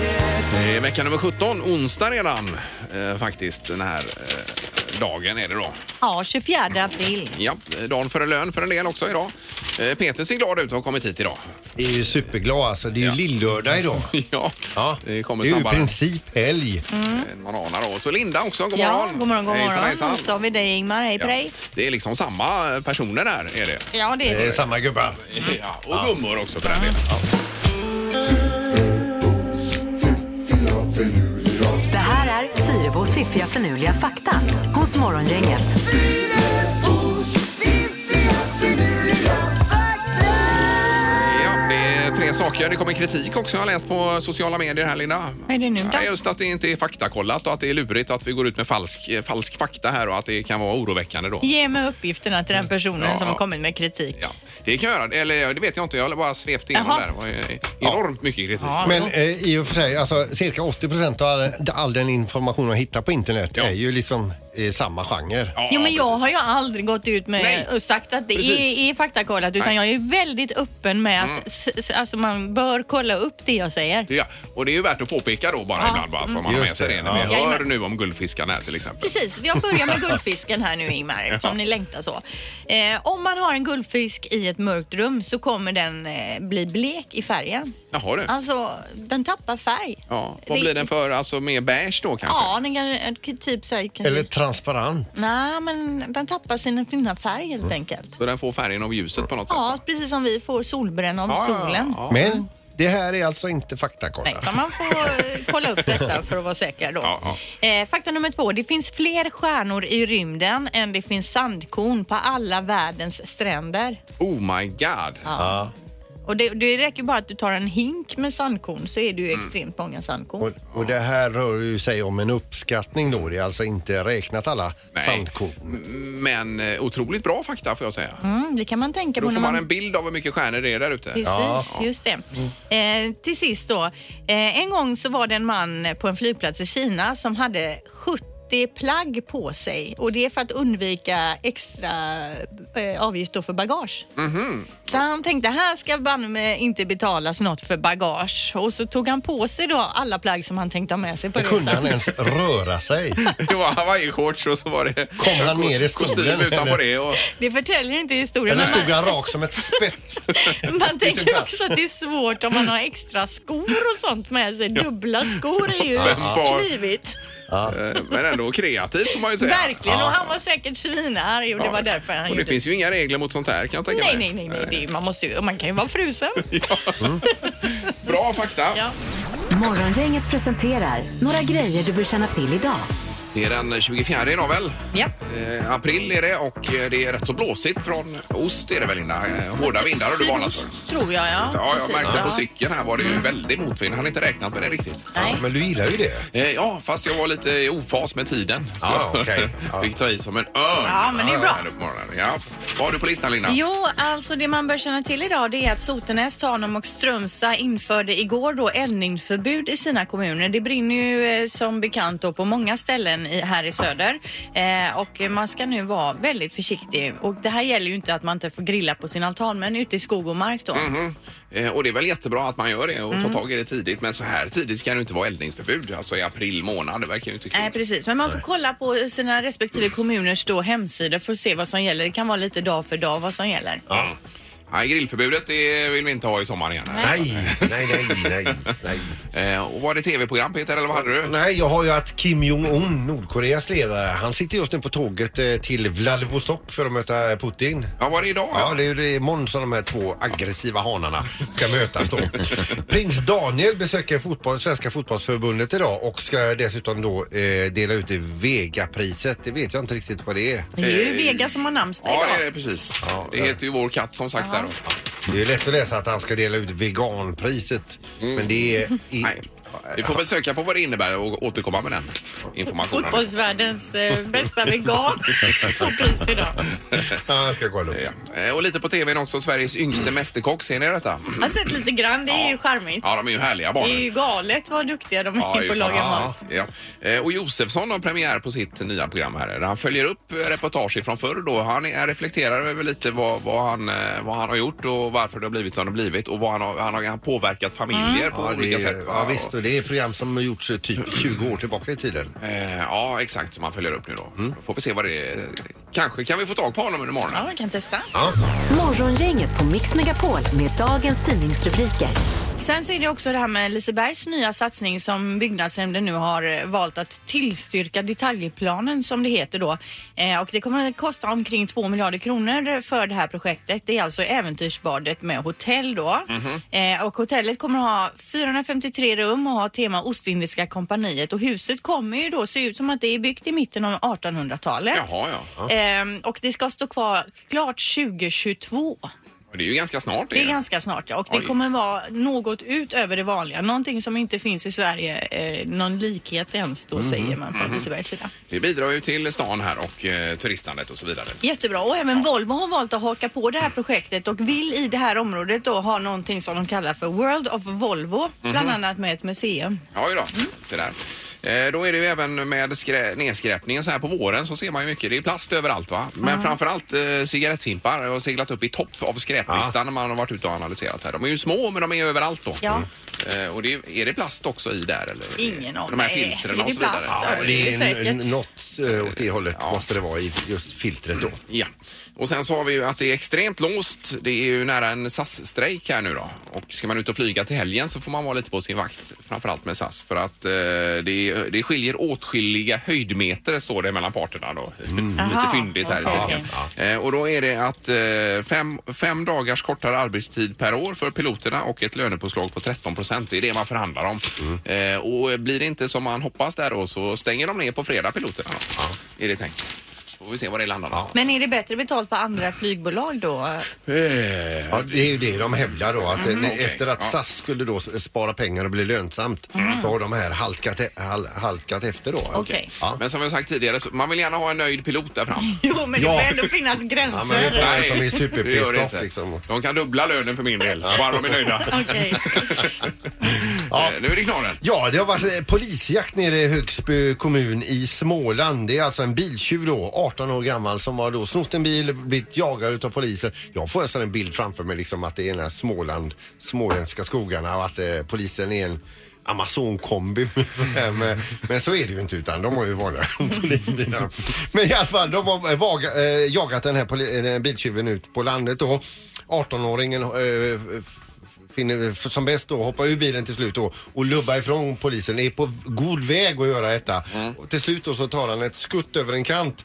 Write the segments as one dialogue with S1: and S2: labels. S1: Det är Eh, vecka nummer 17, onsdag redan eh, faktiskt den här eh, dagen är det då.
S2: Ja, 24 april.
S1: Ja, eh, dagen före lön för en del också idag. Eh, Peter ser glad ut och har kommit hit idag.
S3: är ju superglad alltså. Det är ju lillördag idag.
S1: ja,
S3: Ja,
S1: det kommer
S3: är ju i
S1: snabbare Mm.
S3: princip helg.
S1: än man anar då. Och så Linda också, god
S2: Ja,
S1: morgon.
S2: god morgon, god
S1: Hejsan,
S2: morgon.
S1: hejsan.
S2: Och så har vi dig Ingmar, hej på
S1: Ja,
S2: dig.
S1: det är liksom samma personer där är det.
S2: Ja, det är
S3: Det är
S2: det.
S3: eh, samma gubbar.
S1: Ja, och gummor också för den delen. Ja.
S4: Det här är Fyrabos fiffiga förnuliga fakta hos Morgongänget.
S1: Ja, det är tre saker. Det kommer kritik också har jag läst på sociala medier här Linda.
S2: Vad är det nu då?
S1: Ja, just att det inte är faktakollat och att det är lurigt att vi går ut med falsk, eh, falsk fakta här och att det kan vara oroväckande då.
S2: Ge mig uppgifterna till den personen
S1: Ja,
S2: som
S1: Mm. ja.
S2: har kommit med kritik.
S1: Ja, det kan jag göra. Eller ja, det vet jag inte. Jag har bara svept igenom
S2: Jaha.
S1: där. Det var ju enormt mycket kritik. Ja.
S3: Men eh, i och för sig, alltså, cirka 80 procent av all, all den information man hittar på internet
S1: Ja.
S3: är ju liksom eh, samma genre.
S2: Jo, men jag
S1: precis.
S2: har ju aldrig gått ut med
S1: Nej.
S2: och sagt att det
S1: Precis.
S2: är, är faktakollat utan
S1: Nej. Mm.
S2: jag är ju väldigt öppen med att s, s, alltså man bör kolla upp det jag säger.
S1: Ja, och det är ju värt att påpeka då bara ibland bara, så man har
S3: Just
S1: med sig
S3: det,
S1: det när vi
S2: Mm. ja.
S1: hör nu om guldfiskarna här till exempel.
S2: Precis, jag börjar med guldfisken här nu Ingmar eftersom ni längtar så. Eh, om man har en guldfisk i ett mörkt rum så kommer den eh, bli blek i färgen.
S1: Jaha du.
S2: Alltså, den tappar färg.
S1: Ja, vad blir den för? Alltså mer beige då kanske?
S2: Ja, den kan typ säga...
S3: Eller transparent.
S2: Nej, men den tappar sin fina färg helt
S1: Mm.
S2: enkelt.
S1: Så den får färgen av ljuset på något sätt?
S2: Ja, precis som vi får solbränna av
S1: Ah, Ja, ja, ja,
S2: solen.
S1: ja.
S3: Men det här är alltså inte
S2: Nej,
S3: faktakollat.
S2: kan man få eh, kolla upp detta för att vara säker då.
S1: Ja,
S2: Eh, fakta nummer två. Det finns fler stjärnor i rymden än det finns sandkorn på alla världens stränder.
S1: Oh my god.
S2: Och det, det räcker ju bara att du tar en hink med sandkorn så är det
S1: Mm.
S2: ju extremt många sandkorn.
S3: Och, och det här rör ju sig om en uppskattning då. Det är alltså inte räknat alla
S1: Nej.
S3: sandkorn.
S1: Men eh, otroligt bra fakta får jag säga.
S2: Mm, det kan man tänka
S1: Då
S2: på
S1: får
S2: när
S1: man
S2: man
S1: en bild av hur mycket stjärnor det är där ute.
S2: Precis, just det.
S3: Mm.
S2: Eh, till sist då. Eh, en gång så var det en man på en flygplats i Kina som hade 70 plagg på sig och det är för att undvika extra eh, avgift då för bagage.
S3: Mhm.
S2: Så han tänkte här ska banne mig inte betalas något för bagage och så tog han på sig då alla plagg som han tänkte ha med sig på
S3: Kunde han
S2: resan.
S3: ens röra sig?
S1: Det var hawaiishorts och så var det
S3: Kom han ner i
S1: kostym
S3: stolen?
S1: utanpå det. Och,
S2: Det förtäljer inte historien.
S3: Eller
S2: men man-
S3: stod han rak som ett spett?
S2: Man
S3: sin
S2: tänker
S3: plats.
S2: också att det är svårt om man har extra skor och sånt med sig. Dubbla skor är ju
S1: bar-
S2: knivigt.
S1: eh, men ändå kreativt får man ju säga.
S2: Verkligen. Och han var säkert svinarg och det var därför han
S1: och det
S2: gjorde
S1: finns ju inga regler mot sånt här kan jag tänka
S2: Nej,
S1: mig.
S2: nej, nej. nej. Det är, man, måste ju, man kan ju vara frusen.
S1: Bra fakta.
S2: Ja.
S4: Morgongänget presenterar några grejer du bör känna till idag.
S1: Det är den 24 idag väl?
S2: Ja.
S1: Eh, april är det och eh, det är rätt så blåsigt från ost är det väl Linda? Eh, Hårda vindar har du varnat för.
S2: Sydost, tror jag, ja.
S1: Ja, jag
S2: Precis,
S1: märkte
S2: ja. Mm.
S1: på cykeln här var det ju väldigt motvind. Jag hade inte räknat med det riktigt.
S2: Nej.
S3: Men du gillar ju det.
S1: Eh, Ja, fast jag var lite i ofas med tiden. Så
S3: Ja, okej.
S1: jag
S3: Ja.
S1: fick ta i som en örn.
S2: Ja, men det är bra.
S1: här på morgonen. Ja. Vad har du på listan Linda?
S2: Jo, alltså det man bör känna till idag det är att Sotenäs, Tanum och Strömstad införde igår då eldningsförbud i sina kommuner. Det brinner ju eh, som bekant då på många ställen i, här i söder eh, och man ska nu vara väldigt försiktig. Och det här gäller ju inte att man inte får grilla på sin altan men ute i skog och mark då.
S1: Mhm. Eh, Och det är väl jättebra att man gör det och
S2: Mm.
S1: tar tag i det tidigt. Men så här tidigt ska det ju inte vara eldningsförbud. Alltså i april månad. Det verkar ju inte kul.
S2: Nej, precis. Men man får kolla på sina respektive kommuners då hemsidor för att se vad som gäller. Det kan vara lite dag för dag vad som gäller.
S1: Ja. Nej, grillförbudet det vill vi inte ha i sommar igen. här.
S3: Nej, nej, nej, nej, nej.
S1: Eh, och var det tv-program Peter eller vad hade du?
S3: Nej, jag har ju att Kim Jong-Un, Nordkoreas ledare, han sitter just nu på tåget eh, till Vladivostok för att möta Putin.
S1: Ja, var det idag?
S3: Ja, det är ju det imorgon som de här två aggressiva hanarna ska mötas då. Prins Daniel besöker fotboll, Svenska fotbollsförbundet idag och ska dessutom då eh, dela ut det Vegapriset. Det vet jag inte riktigt vad det är.
S2: Det är ju Vega som har namnsdag
S1: Ja,
S2: idag.
S1: det är det precis. det heter ju Vår katt som sagt där då.
S3: Det är ju lätt att läsa att han ska dela ut veganpriset, men det är... I,
S1: Nej. Vi får väl söka på vad det innebär och återkomma med den informationen.
S2: Fotbollsvärldens eh, bästa vegan får pris idag.
S3: Ja, jag ska kolla upp.
S1: Ja. Eh, Och lite på tvn också, Sveriges yngste mästerkock. Ser ni detta?
S2: Jag har sett lite grann, det är ju charmigt.
S1: Ja, de är ju härliga
S2: Det är ju
S1: barnen.
S2: galet vad duktiga de är
S1: Ja, det är ju
S2: på att laga mat.
S1: fantastiskt. Ja. Eh, Och Josefsson har premiär på sitt nya program här. Han följer upp eh, reportage från förr då. Han är- reflekterar över lite vad, vad, han, eh, vad han har gjort och varför det har blivit som det har blivit och vad han har, han har han har påverkat familjer på
S3: Mm. Ja, det
S1: olika
S3: är,
S1: sätt. va?
S3: ja, visst, och det är program som har gjorts eh, typ 20 år tillbaka i tiden.
S1: Eh, Ja, exakt som han följer upp nu då. Då får vi se vad det är. Kanske kan vi få tag på honom under morgonen.
S2: Ja, vi kan testa.
S4: Morgongänget på Mix Megapol med dagens tidningsrubriker.
S2: Sen så är det också det här med Lisebergs nya satsning som byggnadsnämnden nu har eh, valt att tillstyrka detaljplanen som det heter då. Eh, och det kommer att kosta omkring 2 miljarder kronor för det här projektet. Det är alltså äventyrsbadet med hotell då. eh, och hotellet kommer att ha 453 rum och ha tema Ostindiska kompaniet och huset kommer ju då se ut som att det är byggt i mitten av 1800-talet.
S1: Jaha, ja.
S2: Ehm, och det ska stå kvar klart 2022.
S1: Det är ju ganska snart
S2: Det är ganska snart ja. Och det
S1: Oj.
S2: kommer vara något utöver det vanliga. Någonting som inte finns i Sverige. Eh, någon likhet ens då
S1: Mhm.
S2: säger man från Lisebergs sida.
S1: Det bidrar ju till stan här och eh, turistandet och så vidare.
S2: Jättebra och även Volvo har valt att haka på det här projektet och vill i det här området då ha någonting som de kallar för World of Volvo.
S1: Mhm.
S2: Bland annat med ett museum.
S1: Ja, ju då. Så där. Eh, Då är det ju även med skrä- nedskräpningen så här på våren så ser man ju mycket. Det är plast överallt va. Men framförallt eh, cigarettfimpar har seglat upp i topp av skräplistan när man har varit ute och analyserat här. De är ju små men de är överallt då.
S2: Ja.
S1: Eh, Och det, är det plast också i där eller?
S2: Ingen aning.
S1: De här filtren
S2: Är
S1: och
S2: det
S1: så vidare.
S2: plast?
S1: Ja,
S2: Ja,
S1: det är...
S2: det säkert.
S3: n- något eh, åt det hållet måste det vara i just filtret då.
S1: Ja. Och sen så har vi ju att det är extremt låst. Det är ju nära en SAS-strejk här nu då. Och ska man ut och flyga till helgen så får man vara lite på sin vakt. Framförallt med SAS. För att eh, det, är- det skiljer åtskilliga höjdmeter står det mellan parterna då. lite
S2: Aha,
S1: fyndigt här i
S2: okej.
S1: tidningen. Eh, och då är det att eh, fem, fem dagars kortare arbetstid per år för piloterna och ett lönepåslag på 13 procent. Det är det man förhandlar om. Eh, och blir det inte som man hoppas där då så stänger de ner på fredag piloterna då. Är det tänkt. Får vi se var det landar då.
S2: Men är det bättre betalt på andra flygbolag då?
S3: Ja, det är ju det de hävdar då. Att eh, när-
S1: Okej,
S3: Efter att
S1: ja.
S3: SAS skulle då s- spara pengar och bli lönsamt
S1: Mm.
S3: så har de här halkat, e- hal, halkat efter då.
S2: Okej.
S3: Ja.
S1: Men som jag sagt tidigare, så man vill gärna ha en nöjd pilot där fram.
S2: Jo men det
S3: Ja.
S2: får ändå finnas
S3: Ja, men det är
S2: gränser. Ja,
S3: klart. Nej, som är
S1: det gör det
S3: superpissed off,
S1: inte.
S3: liksom.
S1: De kan dubbla lönen för min del, bara de är nöjda.
S2: Okej.
S3: Ja.
S1: Eh, Nu är det knorren.
S3: Ja, det har varit eh, polisjakt nere i Högsby kommun i Småland. Det är alltså en biltjuv då, 18 år gammal, som har då snott en bil, blivit jagad utav polisen. Jag får nästan en bild framför mig liksom att det är den här Småland, småländska skogarna och att eh, polisen är en Amazon-kombi. men, men så är det ju inte utan de har ju vanliga polisbilar. Men i alla fall, de har eh, vaga, eh, jagat den här poli- eh, den här biltjuven ut på landet då. 18-åringen eh, finner för- som bäst då hoppa ur bilen till slut då, och lubba ifrån polisen. Är på god väg att göra detta. Och till slut då så tar han ett skutt över en kant.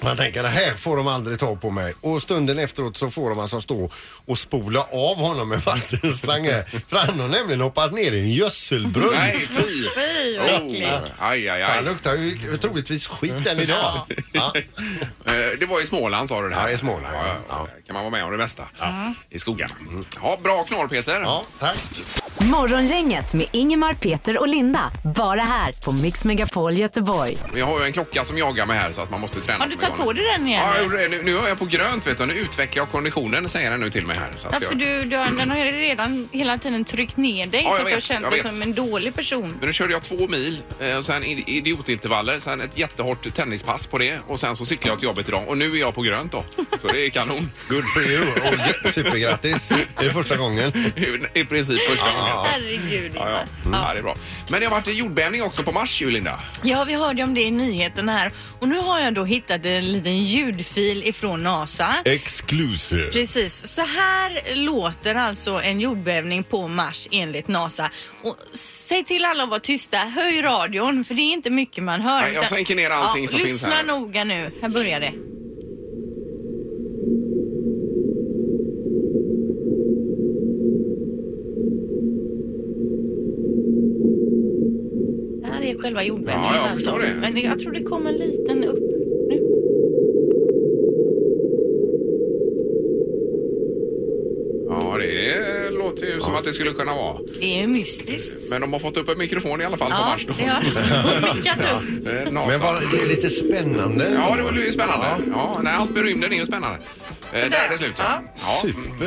S3: Man tänker det här får de aldrig tag på mig. Och stunden efteråt så får de alltså stå och spola av honom med vattenslangar. För han har nämligen hoppat ner i en gödselbrunn.
S1: Nej, fy!
S2: Fy, vad äckligt.
S1: Oh, aj, aj,
S3: Han
S1: aj.
S3: luktar ju troligtvis skit än idag. Ja.
S1: Eh, Det var i Småland sa du det här.
S3: Ja, i Småland, ja.
S1: Kan man vara med om det mesta. I skogarna. Ja, bra knorr Peter.
S3: ja, tack.
S4: Morgongänget med Ingemar, Peter och Linda. Bara här på Mix Megapol Göteborg.
S1: Vi har ju en klocka som jagar mig här så att man måste träna.
S2: Har du
S1: på
S2: tagit
S1: igång.
S2: på dig den igen?
S1: Ja, jag gjorde det. nu, nu är jag på grönt vet du. Nu utvecklar jag konditionen säger den nu till mig här. Så att
S2: Ja,
S1: jag-
S2: för du, du, har- den har ju redan hela tiden tryckt ner dig
S1: Ja, jag
S2: så att du har
S1: vet,
S2: känt
S1: jag
S2: dig
S1: vet.
S2: som en dålig person.
S1: Men nu körde jag två mil eh, och sen i- idiotintervaller, sen ett jättehårt tennispass på det och sen så cyklade jag till jobbet idag och nu är jag på grönt då. Så det är kanon.
S3: Good for you och gr- supergrattis. Det är första gången.
S1: I princip första gången. Ja,
S2: Herregud.
S1: ja.
S2: Ja,
S1: Ja, det är bra. Men det har varit jordbävning också på Mars ju Linda.
S2: ja, vi hörde om det i nyheten här och nu har jag då hittat en liten ljudfil ifrån NASA.
S3: Exclusive.
S2: Precis, så här låter alltså en jordbävning på Mars enligt NASA. Och säg till alla att vara tysta, höj radion för det är inte mycket man hör.
S1: Nej, jag
S2: utan-
S1: sänker ner allting som finns här.
S2: Lyssna noga nu, här börjar det. Det här är själva jordbävningen
S1: Ja, jag
S2: alltså.
S1: förstår det.
S2: Men jag tror det kom en liten upp nu.
S1: Ja, det låter ju som att det skulle kunna vara.
S2: Det är ju mystiskt.
S1: Men de har fått upp en mikrofon i alla fall på
S2: Ja,
S1: Mars då.
S2: det har mickat upp.
S1: Eh, NASA.
S3: Men vad, det är lite spännande.
S1: Ja, det var ju spännande. Ja, nej, allt med rymden är ju spännande. Eh, där är det slut. Ja. Ja.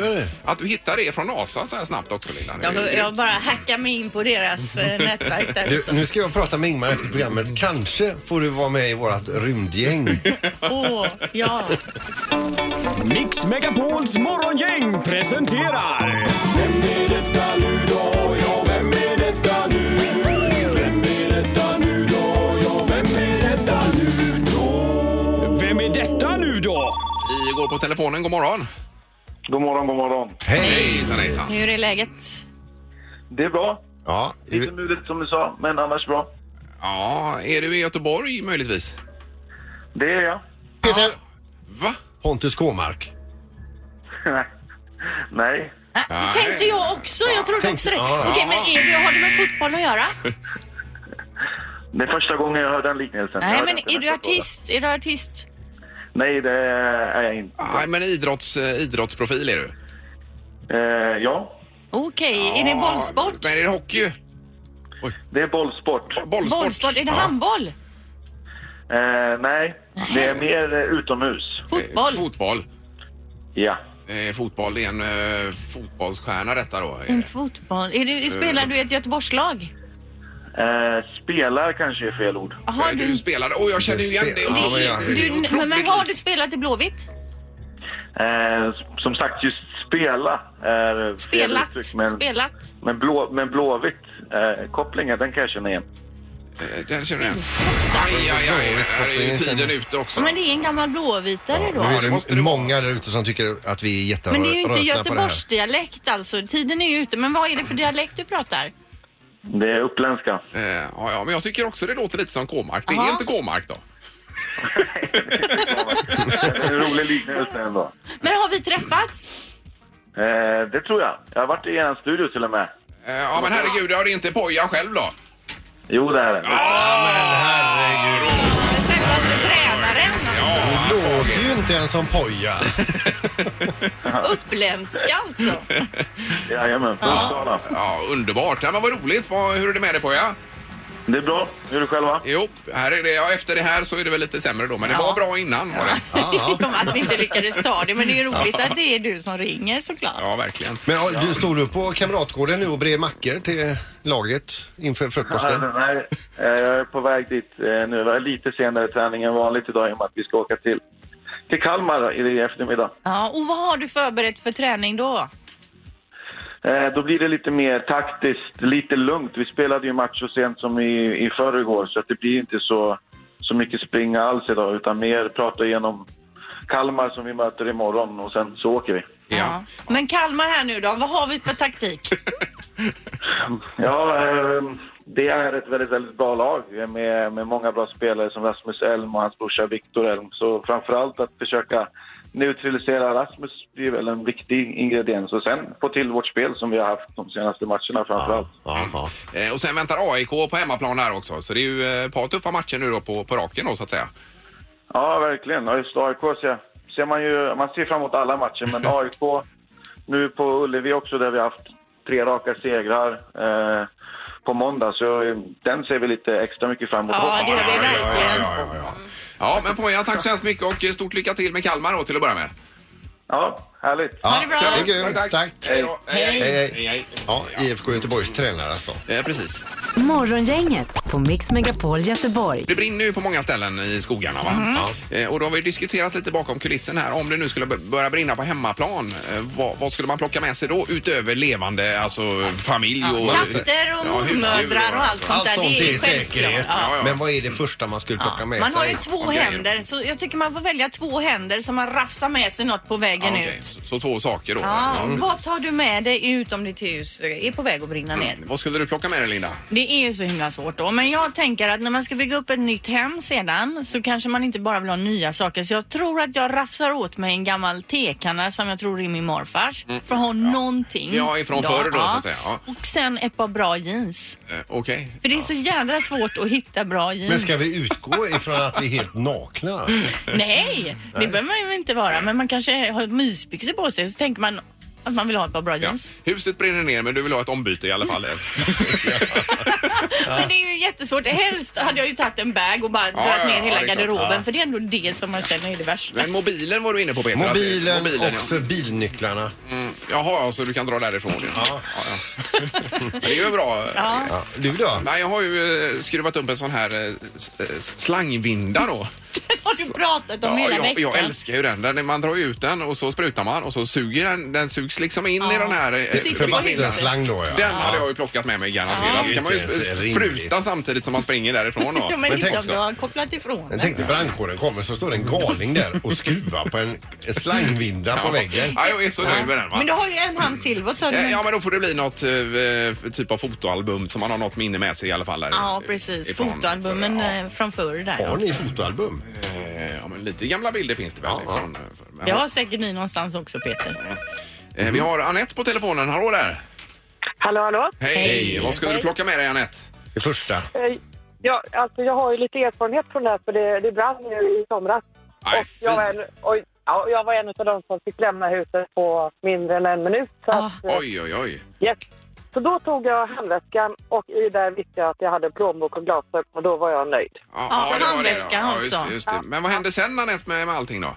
S3: Super.
S1: Att du hittar det från NASA så här snabbt också, Linda. det är
S2: Jag,
S1: grymt.
S2: jag bara hackar mig in på deras eh, nätverk där
S3: Du,
S2: också.
S3: nu ska jag prata med Ingmar efter programmet. Kanske får du vara med i vårt rymdgäng.
S2: Åh, ja.
S5: Mix Megapols morgongäng presenterar... Vem är detta nu då? Ja, vem är detta nu? Vem är detta nu då? Ja, vem är detta nu då? Vem är detta nu då?
S1: Vi går på telefonen. God morgon.
S6: God morgon, god morgon.
S1: Hejsan, hejsan.
S2: Hur är läget?
S6: Det är bra.
S3: Ja,
S6: Lite muligt som du sa, men annars bra.
S1: Ja, är du i Göteborg möjligtvis?
S6: Det är jag.
S3: Peter
S1: Va?
S3: Pontus Kåmark.
S6: Nej.
S2: Ah, Det
S1: Nej.
S2: tänkte jag också. Jag trodde också det.
S3: ja, ja.
S2: Okej, men är det, har det med fotboll att göra?
S6: Det är första gången jag hör den liknelsen. Jag
S2: Nej,
S6: hörde
S2: men
S6: inte
S2: är
S6: den
S2: du
S6: första
S2: artist? Är du artist?
S6: gången. Nej, det är jag inte.
S1: Nej, men idrotts, eh, idrottsprofil är du.
S6: Eh, ja,
S2: Okej, är det bollsport?
S1: Men är det hockey?
S6: det är bollsport.
S1: Bollsport?
S2: Bollsport? Är det
S1: Ja.
S2: handboll?
S6: Eh, nej, det är mer eh, utomhus.
S2: Fotboll?
S1: Eh, Fotboll.
S6: Ja.
S1: Eh, fotboll är en eh, fotbollsstjärna detta då. är
S2: En
S1: det.
S2: fotboll? Är du, spelar du i ett Göteborgslag?
S6: Eh, spelar kanske är fel ord.
S2: Har
S1: Eh, Du
S2: du...
S1: spelade... Åh, jag känner ju igen det.
S3: Ja, men jag-
S1: det är
S2: Du,
S1: otroligt
S2: men, men har du spelat i Blåvitt?
S6: Eh, s- som sagt, just spela är fel
S2: Spelat?
S6: uttryck. Men,
S2: Spelat?
S6: men, blå, men Blåvitt-kopplingen, den kan jag känna igen.
S1: Eh, Den känner jag igen. Aj, aj, aj. Här är ju tiden ute också.
S2: Men det är en gammal blåvitare
S3: Nu
S2: då?
S3: är
S1: det måste
S3: det
S1: det
S3: många där ute som tycker att vi är
S2: Men det är ju
S3: jätterötna
S2: inte
S3: på det här.
S2: Göteborgsdialekt alltså. Tiden är ju ute. Men vad är det för dialekt du pratar?
S6: Det är uppländska.
S1: Eh, ja, ja, men jag tycker också det låter lite som K-mark. Det är
S2: Jaha.
S1: inte K-mark då.
S6: En rolig liknelse ändå.
S2: Men har vi träffats?
S6: Eh, det tror jag. Jag har varit i en studio till och med.
S1: Eh, ja, men herregud, ja, det är inte Poja själv då?
S6: Jo, det är det.
S2: Självaste tränaren alltså.
S3: Du låter ju inte ens som poja.
S2: Uppländska alltså.
S6: Jajamän, från Uppsala.
S1: Ja, underbart. Ja, men vad roligt. Vad, hur är det med dig Poja?
S6: Det är bra. Hur är du själva?
S1: Jo, här är det. Ja, efter det här så är det väl lite sämre då, men det
S2: Ja.
S1: var bra innan var det.
S2: Att vi inte lyckades ta det. Men det är ju roligt att det är du som ringer såklart.
S1: Ja, verkligen.
S3: Men ja, du stod du på Kamratgården nu och bred mackor till laget inför frukosten?
S6: Alltså, nej, eh, jag är på väg dit eh, nu. Jag är lite senare träning än vanligt idag i och med att vi ska åka till, till Kalmar i eftermiddag.
S2: Ja, och vad har du förberett för träning då?
S6: Eh, Då blir det lite mer taktiskt, lite lugnt. Vi spelade ju match så sent som i, i förrgår så att det blir inte så, så mycket springa alls idag utan mer prata igenom Kalmar som vi möter imorgon och sen så åker vi.
S1: Ja.
S2: Men Kalmar här nu då, vad har vi för taktik?
S6: Ja, eh, det är ett väldigt, väldigt bra lag med, med många bra spelare som Rasmus Elm och hans brorsa Viktor Elm. Så framförallt att försöka neutralisera Rasmus blir väl en viktig ingrediens och sen få till vårt spel som vi har haft de senaste matcherna framförallt.
S3: Ja, ja.
S1: Eh, och sen väntar AIK på hemmaplan här också, så det är ju eh, ett par tuffa matcher nu då på, på raken då så att säga.
S6: Ja, verkligen. Ja, Just AIK ser, ser man ju, man ser fram emot alla matcher, men AIK nu på Ullevi också där vi har haft tre raka segrar eh, på måndag, så eh, den ser vi lite extra mycket fram emot.
S2: Ja, det gör vi
S1: ja, ja, ja,
S2: verkligen.
S1: ja, ja, ja. ja men Poja, tack så hemskt mycket och eh, stort lycka till med Kalmar då till att börja med.
S6: ja härligt.
S3: Ja,
S2: det bra.
S3: Det är grymt. Tack.
S1: Hej då.
S3: Hej, hej.
S1: Hej, hej.
S3: Ja, IFK Göteborgs tränare alltså.
S1: Eh, precis.
S4: Morgongänget på Mix Megapol Göteborg.
S1: Det brinner ju på många ställen i skogarna. Va? Eh, Och då har vi diskuterat lite bakom kulissen här. Om det nu skulle b- börja brinna på hemmaplan, eh, vad, vad skulle man plocka med sig då? Utöver levande, alltså familj och...
S2: Katter och
S1: Ja, husdjur
S2: mormödrar och allt sånt
S3: Allt
S2: där.
S3: sånt
S2: ju
S3: är
S2: självklart.
S3: säkerhet.
S2: Ja.
S1: Ja, ja.
S3: Men vad är det första man skulle plocka med
S2: Man har ju
S3: sig?
S2: två
S1: Okej.
S2: händer, så jag tycker man får välja två händer så man rafsar med sig något på
S1: Ja,
S2: vägen
S1: okej.
S2: ut.
S1: Så, så två saker då. Mm.
S2: Ja,
S1: Ja.
S2: vad tar du med dig ut om ditt hus är på väg att brinna ner?
S1: Vad skulle du plocka med dig Linda?
S2: Det är ju så himla svårt då. Men jag tänker att när man ska bygga upp ett nytt hem sedan så kanske man inte bara vill ha nya saker. Så jag tror att jag rafsar åt mig en gammal tekanna som jag tror är min morfars. För att ha någonting.
S1: Mm. Ja, ifrån förr då,
S2: ja.
S1: så att säga. Ja.
S2: Och sen ett par bra jeans.
S1: Eh, Okej.
S2: För det är så jädra svårt att hitta bra jeans.
S3: Men ska vi utgå ifrån att vi är helt nakna?
S2: Nej, det behöver man ju inte vara. Men man kanske har mysbyxor på sig så tänker man Att man vill ha ett par bra
S1: Ja.
S2: jeans.
S1: Huset brinner ner men du vill ha ett ombyte i alla fall.
S2: Men det är ju jättesvårt. Helst hade jag ju tagit en bag och bara
S1: Ja,
S2: dragit
S1: ja,
S2: ner
S1: ja,
S2: hela
S1: det är klart.
S2: garderoben för det är ändå det som man känner är det värsta.
S1: Men mobilen var du inne på Peter. att det-
S3: Mobilen,
S1: mobilen
S3: och bilnycklarna.
S1: Ja. Mm. Jaha, ja, så du kan dra därifrån. Ja. Ja, ja. Men det är ju bra.
S3: Ja. Du då?
S1: Nej, jag har ju eh, skruvat upp en sån här eh, s- eh, slangvinda då.
S2: Har du pratat om
S1: Ja,
S2: hela
S1: jag,
S2: veckan?
S1: jag älskar ju den. den. Man drar ju ut den och så sprutar man och så suger den. Den sugs liksom in i den här... eh,
S2: Precis,
S3: För
S2: det var ju inte-
S3: vattenslang då ja.
S1: Den hade jag ju plockat med mig garanterat.
S3: Ja.
S1: kan man ju
S3: Det är inte
S1: sp-
S3: ens
S1: spruta
S3: rimligt.
S1: samtidigt som man springer därifrån då.
S2: Ja, men inte om
S3: så.
S2: du har kopplat ifrån
S3: Men
S2: den.
S3: tänk när brandkåren kommer så står det en galning där och skruvar på en en slangvinda på väggen.
S1: Ja, jag är så nöjd med den. Va?
S2: Men du har ju en hand till. Vad tar du?
S1: Ja,
S2: med?
S1: Ja, men då får det bli något eh, typ av fotoalbum som man har något minne med sig i alla fall. där
S2: Ja,
S1: i-
S2: precis.
S1: ifrån.
S2: Fotoalbumen eh, från förr där.
S3: Har
S2: Ja.
S3: ni fotoalbum?
S1: Eh, Ja, men lite gamla bilder finns det väl.
S3: Ja, ja.
S1: ifrån, eh, för- men-
S2: Det har säkert ni någonstans också Peter.
S1: Eh, Vi har Anette på telefonen. Hallå där!
S6: Hallå, hallå.
S1: Hej!
S2: Hej.
S1: Vad skulle du plocka med dig, Anette?
S3: Det första.
S6: Eh, Ja, alltså jag har ju lite erfarenhet från det här för det, det brann ju i somras.
S1: Aj,
S6: och jag var, en, och, ja, och jag var en av de som fick lämna huset på mindre än en minut. Så,
S2: Ah.
S6: att, eh,
S1: Oj, oj, oj.
S6: yes. så då tog jag handväskan och i där visste jag att jag hade plånbok och glasögon och då var jag nöjd.
S1: Ja,
S2: Ja,
S1: det var det då.
S2: handväskan
S1: ja, just, det,
S2: också.
S1: just det. Men vad hände sen, Anette, med, med allting då?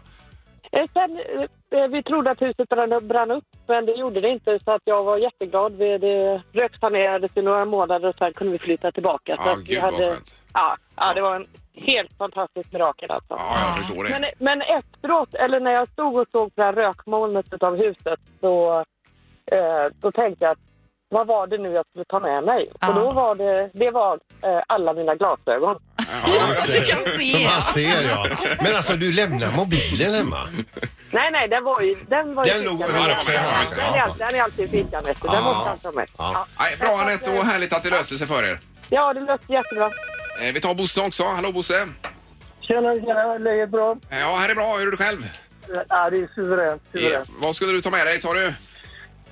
S6: Eh, Sen, eh, eh, vi trodde att huset brann, brann upp, men det gjorde det inte så att jag var jätteglad. Vi, det röksanerades i några månader och sen kunde vi flytta tillbaka. så
S1: Ja,
S6: att vi
S1: Ah, gud vad skönt.
S6: ja, ja, det var en helt fantastisk mirakel alltså.
S1: Ja, jag förstår det.
S6: Men, men efteråt, eller när jag stod och såg på det här rökmolnet av huset så eh, då tänkte jag att vad var det nu jag skulle ta med mig?
S2: Ja.
S6: Och då var det, det var eh, alla mina glasögon.
S2: Så att du kan
S3: Som
S2: se.
S3: man ser ja. Men alltså du lämnar mobilen hemma.
S6: Nej, nej, den var ju... Den, var ju
S3: Den låg
S6: fickan.
S3: under också, ja, just det.
S6: Den är alltid- den är alltid i fickan, vet du. Den
S3: Ja.
S6: måste han ta med.
S3: Ja.
S6: Ja.
S1: Nej, bra, Anette, och härligt att det löste sig för er.
S6: Ja, det låter jättebra.
S1: Eh, Vi tar Bosse också. Hallå, Bosse!
S6: Tjena, tjena. Läget bra?
S1: Eh, Ja, här är bra. Hur är du själv?
S6: Ja, det är suveränt.
S1: Eh, Vad skulle du ta med dig, sa du?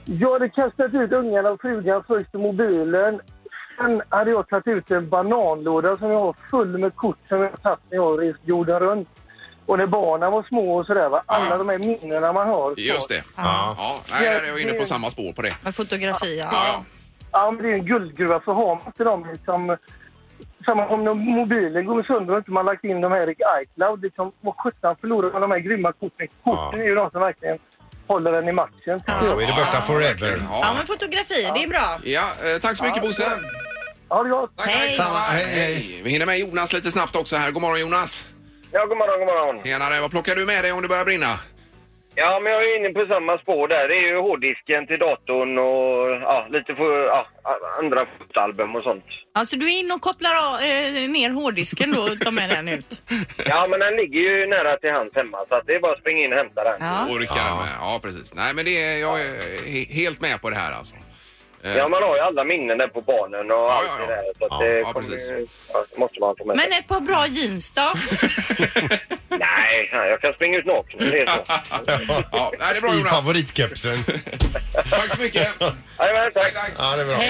S6: Jag hade kastat ut ungarna och frugan först i mobilen. Sen hade jag tagit ut en bananlåda som jag har full med kort som jag tagit när jag rest jorden runt. Och när barnen var små och sådär. Va? Alla de här minnena man har.
S1: Just det.
S3: Ja.
S1: Ja, nej, där är jag inne på samma spår på det.
S2: Med fotografi, ja.
S1: Ja,
S6: Ja, men det är en guldgruva. För har man inte dem liksom... Samma om när mobilen går sönder och inte man lagt in dem här i iCloud. Liksom, vad sjutton förlorar man de här grymma korten? Korten är ju de som verkligen håller en i matchen.
S3: Då är det borta forever.
S2: Ja,
S1: ja.
S2: men fotografi, det är bra.
S1: ja. ja eh, tack så mycket, Bosse!
S6: Ha det gott!
S1: Tack,
S2: Hej.
S1: tack.
S3: Samma, hej, hej.
S1: Vi hinner med Jonas lite snabbt också här. God morgon Jonas!
S6: Ja, god morgon, god morgon.
S1: Tjenare, vad plockar du med dig om det börjar brinna?
S6: Ja, men jag är inne på samma spår där. Det är ju hårddisken till datorn och ja, lite för, ja, andra fotalbum och sånt.
S2: Alltså du är in och kopplar av, eh, ner hårddisken då och tar med den ut.
S6: Ja, men den ligger ju nära till hans hemma så att det är bara att springa in och hämta den.
S2: Ja.
S1: Orkar
S3: Ja.
S1: ja. med? Ja, precis. Nej, men det är, jag är he- helt med på det här alltså. Eh,
S6: Ja, man har ju alla minnen där på barnen och allt
S1: ja,
S6: det
S1: ja.
S6: där. Så att
S3: Ja,
S6: det
S1: ja,
S6: kommer
S1: precis.
S6: ju, ja, det måste man få med sig.
S2: Men ett par bra jeans då?
S6: Nej, nej, jag kan springa ut naken. Det är så.
S1: ja, nej, det är bra
S3: I
S1: Jonas.
S3: favoritkepsen.
S1: Tack så mycket.
S6: Jajamän, tack.
S1: tack.
S3: Ja, det är bra.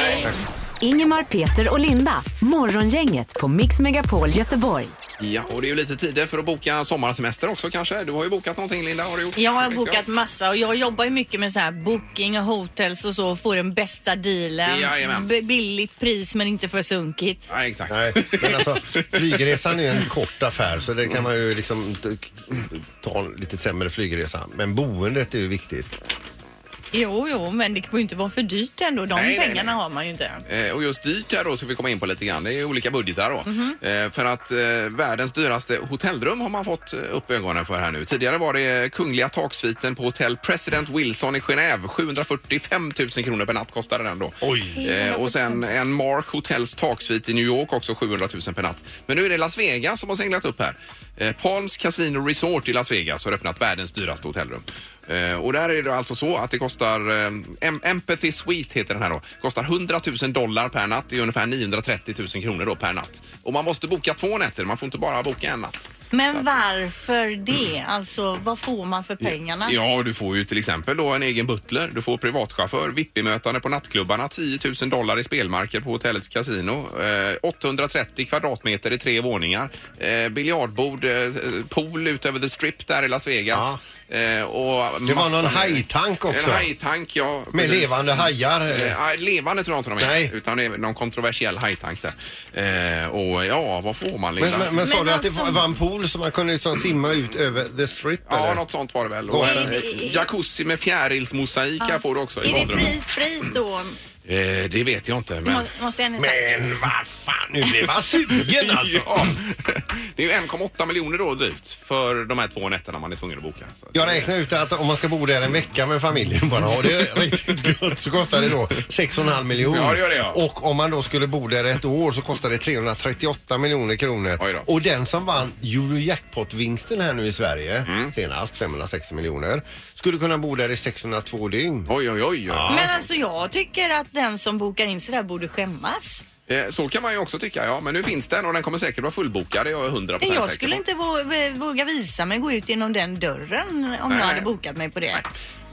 S4: Ingemar, Peter och Linda. Morgongänget på Mix Megapol Göteborg.
S1: Ja, och det är ju lite tider för att boka sommarsemester också kanske. Du har ju bokat någonting Linda, har du gjort?
S2: Jag har
S1: Vet
S2: bokat massa och jag jobbar ju mycket med så här booking och hotels och så. och Får den bästa dealen.
S1: Jajamän.
S2: B- billigt pris men inte för sunkigt.
S1: Nej, exakt.
S3: Nej, men alltså flygresan är ju en kort affär så det kan man ju liksom t- ta en lite sämre flygresa. Men boendet är ju viktigt.
S2: Jo, jo, men det får ju inte vara för dyrt ändå. De
S1: Nej, nej,
S2: pengarna
S1: nej.
S2: har man ju inte.
S1: Eh, Och just dyrt här då ska vi komma in på lite grann. Det är ju olika budgetar då. Eh, För att eh, världens dyraste hotellrum har man fått eh, upp ögonen för här nu. Tidigare var det kungliga taksviten på hotell President Wilson i Genève. 745 000 kronor per natt kostade den då.
S3: Oj.
S1: Eh, Och sen en Mark Hotels taksvit i New York också 700 000 per natt. Men nu är det Las Vegas som har seglat upp här. Eh, Palms Casino Resort i Las Vegas har öppnat världens dyraste hotellrum. Eh, Och där är det alltså så att det kostar, eh, Em- Empathy Suite heter den här då, kostar 100 000 dollar per natt. Det är ungefär 930 000 kronor då per natt. Och man måste boka två nätter, man får inte bara boka en natt.
S2: Men varför det? Alltså, vad får man för pengarna?
S1: Mm. Ja, du får ju till exempel då en egen butler, du får privatchaufför, VIP-mötande på nattklubbarna, 10 000 dollar i spelmarker på hotellets kasino, eh, 830 kvadratmeter i tre våningar, eh, biljardbord, eh, pool ut över the strip där i Las Vegas. Eh, och
S3: Det var
S1: massa-
S3: någon hajtank också.
S1: En hajtank, ja.
S3: Med
S1: precis.
S3: levande hajar.
S1: Eh, ja, levande tror jag inte de är,
S3: Nej.
S1: utan det är någon kontroversiell hajtank där. Eh, och ja, vad får man lilla?
S3: Men, men, men sa
S2: Men
S3: du att det
S2: alltså-
S3: var var en pool som man kunde liksom simma ut över the strip?
S1: Ja,
S3: eller?
S1: något sånt var det väl.
S3: Vad
S1: Och
S3: är
S1: en,
S2: det?
S1: eh, jacuzzi med fjärilsmosaik här får du också i
S2: Är det
S1: badrummet.
S2: fri sprit då?
S1: Eh, det vet jag inte, men...
S2: Må, måste jag nästan...
S3: Men vad fan, nu blev man sugen alltså.
S1: Ja. Det är ju 1,8 miljoner då drygt för de här två nätterna man är tvungen att boka. Så att-
S3: Jag räknar ut att om man ska bo där en vecka med familjen bara och det är riktigt gott så kostar det då 6,5 miljoner.
S1: Ja, det gör det, ja.
S3: Och om man då skulle bo där ett år så kostar det 338 miljoner kronor.
S1: Oj då.
S3: Och den som vann Eurojackpot-vinsten här nu i Sverige
S1: Mm.
S3: senast, 560 miljoner, skulle kunna bo där i 602 dygn.
S1: Oj, oj, oj. oj.
S2: Men alltså jag tycker att den som bokar in sig där borde skämmas.
S1: Eh, Så kan man ju också tycka, ja. Men nu finns den och den kommer säkert vara fullbokad, det är jag 100
S2: Men jag
S1: säker
S2: skulle
S1: på.
S2: inte vå- våga visa mig gå ut genom den dörren om
S1: Nej.
S2: jag hade bokat mig på det.
S1: Nej.